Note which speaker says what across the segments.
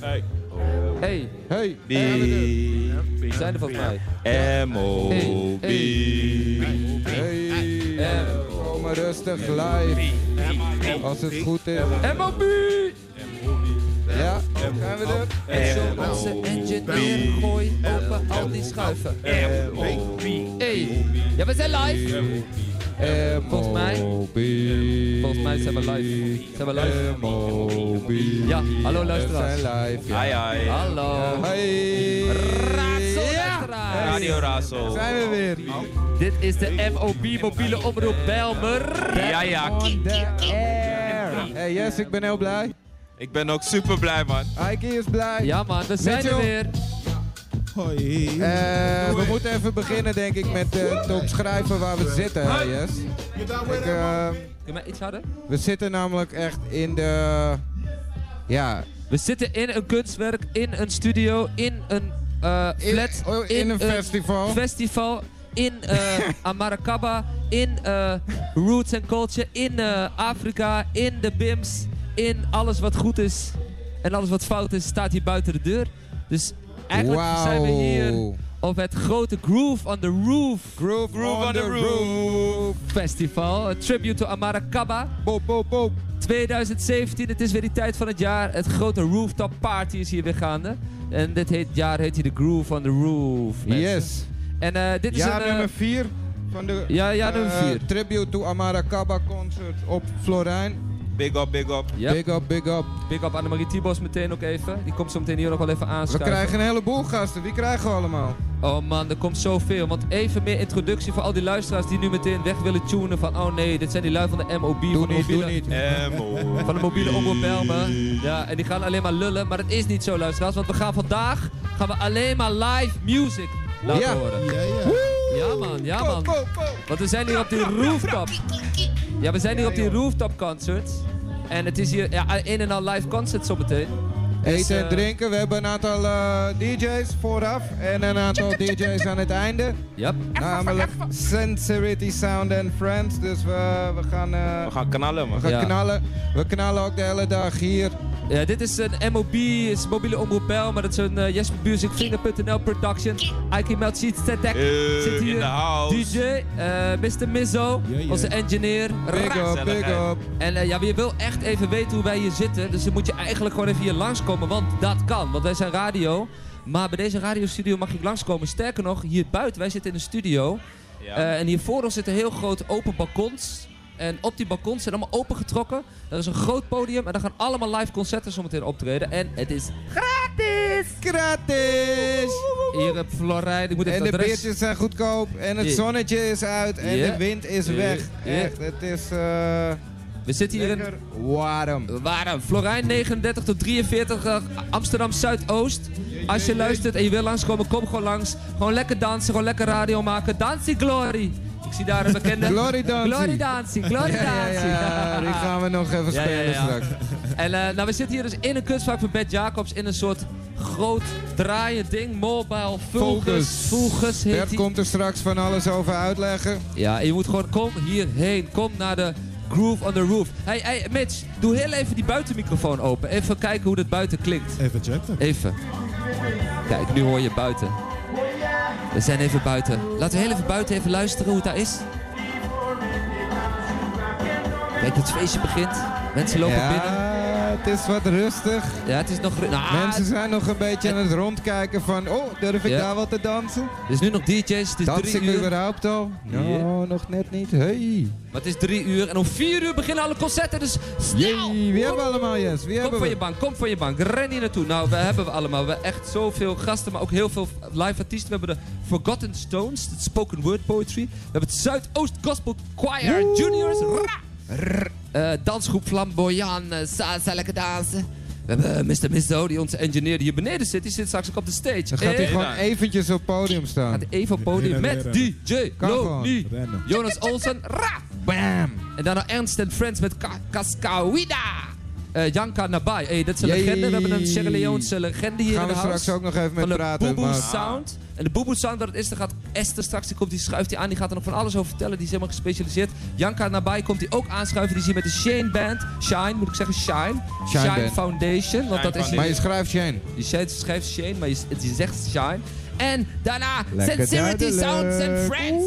Speaker 1: Hey.
Speaker 2: Hey,
Speaker 3: Hey,
Speaker 1: B.
Speaker 2: we zijn er volgens mij.
Speaker 1: M. O. B.
Speaker 3: hey. Kom maar rustig live. Als het goed is.
Speaker 2: M.O.B.
Speaker 3: Ja, zijn we er?
Speaker 2: En onze engineer gooi open al die schuiven. Hey, ja we zijn live. Volgens mij- Volgens mij zijn we live. Zijn we live?
Speaker 3: M.O.B.
Speaker 2: Ja, hallo
Speaker 3: We zijn
Speaker 2: luisteraars.
Speaker 3: live. ja.
Speaker 1: Ai, ai.
Speaker 2: Hallo.
Speaker 3: Hey.
Speaker 2: Raadsel
Speaker 3: Ja.
Speaker 2: luisteraars.
Speaker 1: Radio Razo.
Speaker 3: Zijn we weer.
Speaker 2: Dit is de MOB mobiele oproep Belmer.
Speaker 1: Ja, ja.
Speaker 3: On the air. Hey, yes, ik ben heel blij.
Speaker 1: Ik ben ook super blij, man.
Speaker 3: Ike is blij.
Speaker 2: Ja man, we zijn er
Speaker 3: Mitchell.
Speaker 2: weer.
Speaker 3: Eh, we moeten even beginnen, denk ik, met eh, te omschrijven waar we zitten. hè, Yes. Ik, eh,
Speaker 2: Kun je mij iets harder?
Speaker 3: we zitten namelijk echt in de. Ja,
Speaker 2: We zitten in een kunstwerk, in een studio, in een eh
Speaker 3: in,
Speaker 2: flat,
Speaker 3: oh, in een festival.
Speaker 2: festival, in eh Amarakaba, in eh, Roots and Culture, in eh, Afrika, in de BIMS, in alles wat goed is en alles wat fout is, staat hier buiten de deur. Dus eigenlijk zijn we hier
Speaker 3: Wauw.
Speaker 2: op het grote Groove on the Roof
Speaker 3: Groove,
Speaker 1: Groove on the
Speaker 3: roof.
Speaker 2: Festival, een tribute to Amarakaba.
Speaker 3: Boop, boop, boop.
Speaker 2: 2017, het is weer die tijd van het jaar. Het grote rooftop party is hier weer gaande. En dit heet, jaar heet hij de Groove on the Roof. mensen.
Speaker 3: Yes.
Speaker 2: En eh, dit is
Speaker 3: Ja,
Speaker 2: een... eh,
Speaker 3: nummer 4 van de.
Speaker 2: Ja, ja,
Speaker 3: eh,
Speaker 2: nummer vier.
Speaker 3: Tribute to Amara Kaba concert op Florijn.
Speaker 1: Big up, big up.
Speaker 2: yep. big,
Speaker 3: Big up, big up.
Speaker 2: up Annemarie Tibos meteen ook even. Die komt zo meteen hier ook wel even
Speaker 3: We
Speaker 2: aanschuiven.
Speaker 3: krijgen een heleboel gasten. Wie krijgen we allemaal?
Speaker 2: Oh man, er komt zoveel. Want even meer introductie voor al die luisteraars die nu meteen weg willen tunen. Van oh nee, dit zijn die lui van de MOB.
Speaker 3: Doe
Speaker 2: van de
Speaker 3: niet, doe
Speaker 2: mobiele,
Speaker 3: niet.
Speaker 1: M. O.
Speaker 2: Van de mobiele omroep Belmen. Ja, en die gaan alleen maar lullen. Maar dat is niet zo luisteraars. Want we gaan vandaag gaan we alleen maar live music laten
Speaker 3: Ja.
Speaker 2: horen.
Speaker 4: Ja, ja.
Speaker 2: Ja man, ja
Speaker 3: Go,
Speaker 2: man.
Speaker 3: go, go.
Speaker 2: Want we zijn hier op die rooftop. Ja, we zijn hier op die rooftop concert. En het is hier ja, een en al live concert zometeen. Dus,
Speaker 3: Eten en
Speaker 2: eh,
Speaker 3: drinken. We hebben een aantal eh, DJ's vooraf en een aantal DJ's aan het einde.
Speaker 2: Yep.
Speaker 3: Namelijk Sincerity Sound and Friends. Dus we, we gaan, eh,
Speaker 1: We gaan knallen,
Speaker 3: we
Speaker 1: man.
Speaker 3: gaan
Speaker 2: Ja.
Speaker 3: knallen. We knallen ook de hele dag hier.
Speaker 2: Ja, dit is een MOB, is mobiele omroep Bel, maar dat is een eh, Jesper Music, Vrienden.nl production. Ike Melt Sheet, Statek,
Speaker 1: Eh,
Speaker 2: zit
Speaker 1: in de
Speaker 2: hier.
Speaker 1: house.
Speaker 2: DJ, eh, Mr. Mizzo,
Speaker 4: Ja, ja.
Speaker 2: onze engineer.
Speaker 3: Big up,
Speaker 2: Ra-
Speaker 3: big
Speaker 1: Gezelligheid.
Speaker 3: up.
Speaker 2: En eh, ja, wie wil echt even weten hoe wij hier zitten, dus dan moet je eigenlijk gewoon even hier langskomen, want dat kan. Want wij zijn radio, maar bij deze radiostudio mag je niet langskomen. Sterker nog, hier buiten, wij zitten in een studio.
Speaker 1: Ja.
Speaker 2: Eh, en hier voor ons zitten heel groot open balkons. En op die balkons zijn allemaal opengetrokken. Er is een groot podium en daar gaan allemaal live concerten zometeen optreden. En het is
Speaker 3: Gratis!
Speaker 2: hier op Florijn. Ik moet
Speaker 3: En
Speaker 2: even
Speaker 3: de
Speaker 2: het adres...
Speaker 3: beertjes zijn goedkoop. En het
Speaker 2: Ja.
Speaker 3: zonnetje is uit. En
Speaker 2: Ja.
Speaker 3: de wind is
Speaker 2: Ja.
Speaker 3: weg.
Speaker 2: Ja.
Speaker 3: Echt, het is eh
Speaker 2: We zitten hier in...
Speaker 3: lekker warm.
Speaker 2: Waarom? Florijn 39 tot 43, eh, Amsterdam Zuidoost. Als je luistert en je wil langskomen, kom gewoon langs. Gewoon lekker dansen, gewoon lekker radio maken. Dansie Glory! Ik zie daar een bekende...
Speaker 3: Glory dansie.
Speaker 2: Glory Dansie, Glory
Speaker 3: Ja, ja,
Speaker 2: Dansie.
Speaker 3: ja, die gaan we nog even
Speaker 2: Ja, ja,
Speaker 3: spelen
Speaker 2: ja.
Speaker 3: straks.
Speaker 2: En eh, nou, we zitten hier dus in een kunstvaak van Bert Jacobs in een soort groot draaiend ding. Mobile, Vulgus,
Speaker 3: Focus.
Speaker 2: Vulgus heet
Speaker 3: Bert
Speaker 2: die.
Speaker 3: komt er straks van alles over uitleggen.
Speaker 2: Ja, en je moet gewoon, kom hierheen, kom naar de Groove on the Roof. Hey, hey, Mitch, doe heel even die buitenmicrofoon open. Even kijken hoe dat buiten klinkt.
Speaker 4: Even chatten.
Speaker 2: Even. Kijk, nu hoor je buiten. We zijn even buiten. Laten we heel even buiten even luisteren hoe het daar is. Kijk, het feestje begint. Mensen lopen
Speaker 3: ja,
Speaker 2: binnen.
Speaker 3: het is wat rustig.
Speaker 2: Ja, het is nog... ru- Nou,
Speaker 3: Mensen zijn nog een beetje aan het rondkijken van, oh, durf ik
Speaker 2: Ja.
Speaker 3: daar wat te dansen?
Speaker 2: Het is nu nog DJ's, het is
Speaker 3: Dans
Speaker 2: drie
Speaker 3: ik
Speaker 2: uur. Maar
Speaker 3: überhaupt al? No,
Speaker 2: Ja.
Speaker 3: nog net niet. Hey.
Speaker 2: het is drie uur en om vier uur beginnen alle concerten, dus snel!
Speaker 3: Jee, wie hebben we allemaal, Yes? Wie
Speaker 2: Kom
Speaker 3: hebben
Speaker 2: van je
Speaker 3: we?
Speaker 2: bank, kom van je bank, ren hier naartoe. Nou, we hebben we allemaal. We hebben echt zoveel gasten, maar ook heel veel live artiesten. We hebben de Forgotten Stones, het spoken word poetry. We hebben het Zuidoost Gospel Choir Juniors. Ra! Eh, dansgroep Flamboyant, eh, Salsa Lekker Dansen. We hebben eh, Mr. Mizzo, die onze engineer die hier beneden zit. Die zit straks ook op de stage.
Speaker 3: Dan gaat hij
Speaker 2: Eh,
Speaker 3: gewoon eventjes op het podium staan.
Speaker 2: gaat even op podium
Speaker 4: Rennen,
Speaker 2: met
Speaker 4: rennen.
Speaker 2: DJ
Speaker 3: Kan
Speaker 2: Loni.
Speaker 4: Rennen.
Speaker 2: Jonas Olsen. Ra!
Speaker 3: Bam!
Speaker 2: En daarna Ernst and Friends met Ka- Cascawida. Eh Janka Nabai. Hey, dat is een
Speaker 3: Jee.
Speaker 2: legende. We hebben een Sierra Leone's eh, legende hier
Speaker 3: Gaan
Speaker 2: in
Speaker 3: we
Speaker 2: de house.
Speaker 3: straks ook nog even
Speaker 2: van
Speaker 3: mee
Speaker 2: de
Speaker 3: praten.
Speaker 2: Boeboe
Speaker 3: maar-
Speaker 2: Sound. En de Boeboe Sound, wat het is, dan gaat Esther straks, die komt, die schuift die aan. Die gaat er nog van alles over vertellen. Die is helemaal gespecialiseerd. Janka nabij komt die ook aanschuiven. Die is hier met de Shane Band. Shine, moet ik zeggen, Shine.
Speaker 3: Shine Band.
Speaker 2: Foundation.
Speaker 1: Shine
Speaker 2: Want dat is
Speaker 1: Foundation.
Speaker 3: Maar je schrijft Shane.
Speaker 2: je schrijft- schrijft Shane, maar je, het- je zegt Shine. En daarna
Speaker 3: Lekker
Speaker 2: Sincerity
Speaker 3: duidelijk.
Speaker 2: Sounds and Friends.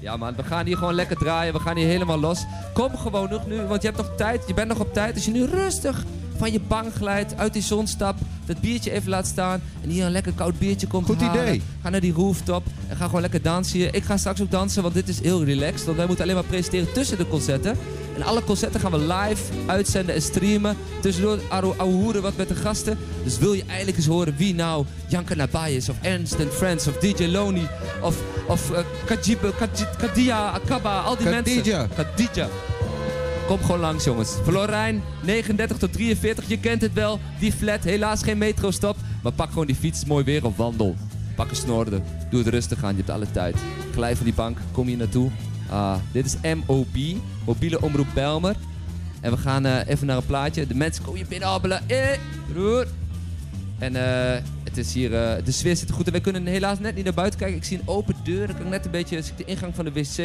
Speaker 2: Ja man, we gaan hier gewoon lekker draaien. We gaan hier helemaal los. Kom gewoon nog nu, want je hebt nog tijd. Je bent nog op tijd. Als je nu rustig van je bank glijdt, uit die zon stapt, dat biertje even laat staan en hier een lekker koud biertje komt
Speaker 3: Goed
Speaker 2: halen.
Speaker 3: idee.
Speaker 2: Ga naar die rooftop en ga gewoon lekker dansen hier. Ik ga straks ook dansen, want dit is heel relaxed. Want wij moeten alleen maar presenteren tussen de concerten. En alle concerten gaan we live uitzenden en streamen. Tussendoor ouwe- ouwe hoeren wat met de gasten. Dus wil je eigenlijk eens horen wie nou Janka Nabai is, of Ernst and Friends, of DJ Loni, of, of eh, Kajib, eh, Kajid- Kadia, Akaba, al die
Speaker 3: Khadija.
Speaker 2: mensen. Khadija. Kom gewoon langs, jongens. Florijn, 39 tot 43, je kent het wel. Die flat, helaas geen metrostop. Maar pak gewoon die fiets, mooi weer of wandel. Pak een snorde, doe het rustig aan, je hebt alle tijd. Glij van die bank, kom hier naartoe. Ah, dit is MOB, Mobiele Omroep Belmer. En we gaan eh, even naar een plaatje. De mensen komen je binnenhabbelen. Eh, broer. En eh, het is hier, eh, de sfeer zit er goed en wij kunnen helaas net niet naar buiten kijken. Ik zie een open deur, dan kan ik net een beetje, zie ik de ingang van de wc.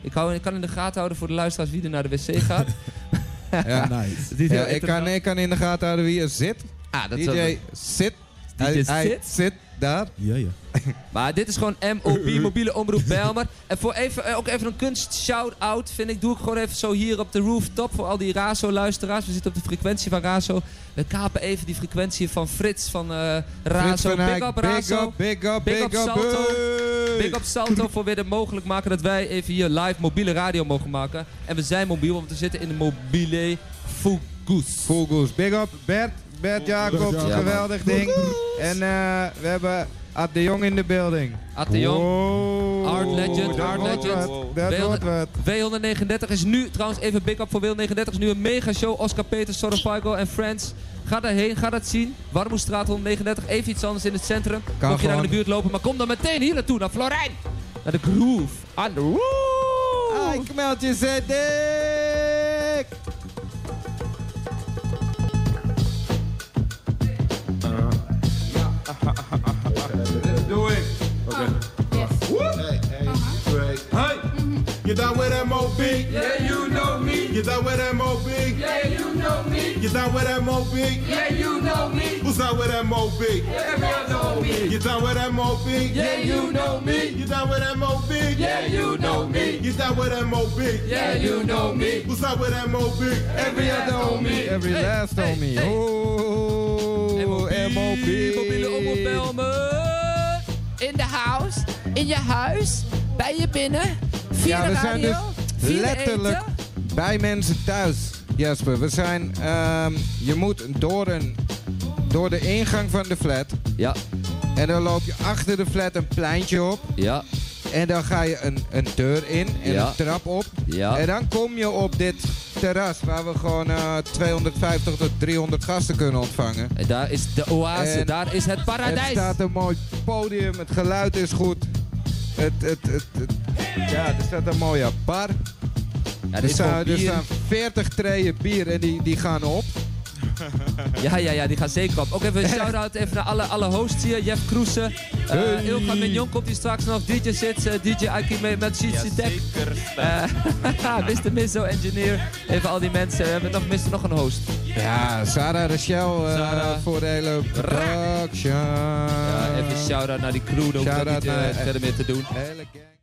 Speaker 2: Ik, hou, ik kan in de gaten houden voor de luisteraars wie er naar de wc gaat.
Speaker 3: Ja.
Speaker 4: Nice.
Speaker 3: Ja, ik,
Speaker 2: Dit is heel
Speaker 3: kan,
Speaker 2: internationaal.
Speaker 3: ik kan in de gaten houden wie er zit.
Speaker 2: Ah, dat zou-
Speaker 3: DJ zit. Hij,
Speaker 2: DJ
Speaker 3: hij
Speaker 2: zit?
Speaker 3: zit daar.
Speaker 4: Ja, ja.
Speaker 2: Maar dit is gewoon MOB, mobiele omroep Belmer. En voor even, eh, ook even een kunst-shout-out, vind ik. Doe ik gewoon even zo hier op de rooftop voor al die Razo-luisteraars. We zitten op de frequentie van Razo. We kapen even die frequentie van Frits van eh
Speaker 3: Frits
Speaker 2: Razo.
Speaker 3: van Eyck,
Speaker 2: Big up Razo.
Speaker 3: Big up, big up,
Speaker 2: Big
Speaker 3: big
Speaker 2: up
Speaker 3: up.
Speaker 2: Salto.
Speaker 3: hey!
Speaker 2: Big up Salto voor weer de mogelijk maken dat wij even hier live mobiele radio mogen maken. En we zijn mobiel, want we zitten in de mobile Fugus.
Speaker 3: Vogels, big up. Bert, Bert Jacobs,
Speaker 4: Ja, man.
Speaker 3: geweldig ding. En eh, we hebben Ad de Jong in de building.
Speaker 2: Ad de Jong.
Speaker 3: Wow.
Speaker 2: Art legend,
Speaker 3: Dat
Speaker 2: art
Speaker 3: wordt
Speaker 2: legend.
Speaker 3: wat, Dat
Speaker 2: Beelden-
Speaker 3: wordt wat.
Speaker 2: W139 is nu, trouwens even big up voor W139, is nu een mega show. Oscar Peters, Soropago en Friends. Ga daarheen, ga dat zien. Warmoestraat 139, even iets anders in het centrum.
Speaker 3: Kan
Speaker 2: Mocht je daar in de
Speaker 3: gewoon.
Speaker 2: buurt lopen, maar kom dan meteen hier naartoe, naar Florijn. Naar de Groove. Aan de
Speaker 3: Hij
Speaker 2: Groove.
Speaker 3: knelt Ah, je zijn dik.
Speaker 5: Do it. Okay. Hey, hey, Uh-huh. hey. You done with MOB? Yeah, you know me. You done with MOB? Yeah, you know me. You done with MOB? Yeah, you know me. Who's done with MOB? Yeah, you know me. You done with MOB? Yeah, you know me. You done with MOB? Yeah, you know me. You done with MOB?
Speaker 2: Yeah, you know me.
Speaker 5: Who's done with MOB? Every other homie.
Speaker 3: Every
Speaker 2: Hey,
Speaker 3: last
Speaker 2: hey,
Speaker 3: on me.
Speaker 2: hey.
Speaker 3: Oh, M.O.B.
Speaker 2: Mobiele omroep Belmen. In de house, in je huis, bij je binnen. Via
Speaker 3: Ja,
Speaker 2: de
Speaker 3: we zijn
Speaker 2: radio,
Speaker 3: dus
Speaker 2: via de
Speaker 3: letterlijk
Speaker 2: eten.
Speaker 3: bij mensen thuis, Jasper. We zijn, ehm, je moet door, een, door de ingang van de flat.
Speaker 2: Ja,
Speaker 3: En dan loop je achter de flat een pleintje op.
Speaker 2: ja,
Speaker 3: En dan ga je een, een deur in en
Speaker 2: Ja.
Speaker 3: een trap op.
Speaker 2: ja.
Speaker 3: En dan kom je op dit terras waar we gewoon eh, 250 tot 300 gasten kunnen ontvangen.
Speaker 2: En daar is de oase,
Speaker 3: En-
Speaker 2: daar is het paradijs.
Speaker 3: Het staat een mooi podium, het geluid is goed. Het, het, het, het- ja, er staat een mooie bar.
Speaker 2: ja,
Speaker 3: Er
Speaker 2: dit is gewoon
Speaker 3: staan, er
Speaker 2: bier.
Speaker 3: staan 40 treien bier en die, die gaan op.
Speaker 2: Ja, ja, ja, die gaan zeker op. Ook even een shout-out even naar alle, alle hosts hier. Jeff Kroesen, eh
Speaker 3: Hey.
Speaker 2: Ilga Mignon komt hier straks nog. DJ Sits, eh, DJ Aki met- met Sitsi Tech.
Speaker 1: Jazeker.
Speaker 2: Eh, Mr. Misso, engineer. Even al die mensen. We hebben nog, missen nog een host.
Speaker 3: Ja, Sarah Rachel eh,
Speaker 2: Sarah.
Speaker 3: voor de hele production.
Speaker 2: Ja, even een Eh, shout-out naar die crew. Daar hoef ik
Speaker 3: Shout-out
Speaker 2: niet eh,
Speaker 3: naar-
Speaker 2: verder meer te doen.
Speaker 3: Hele gang.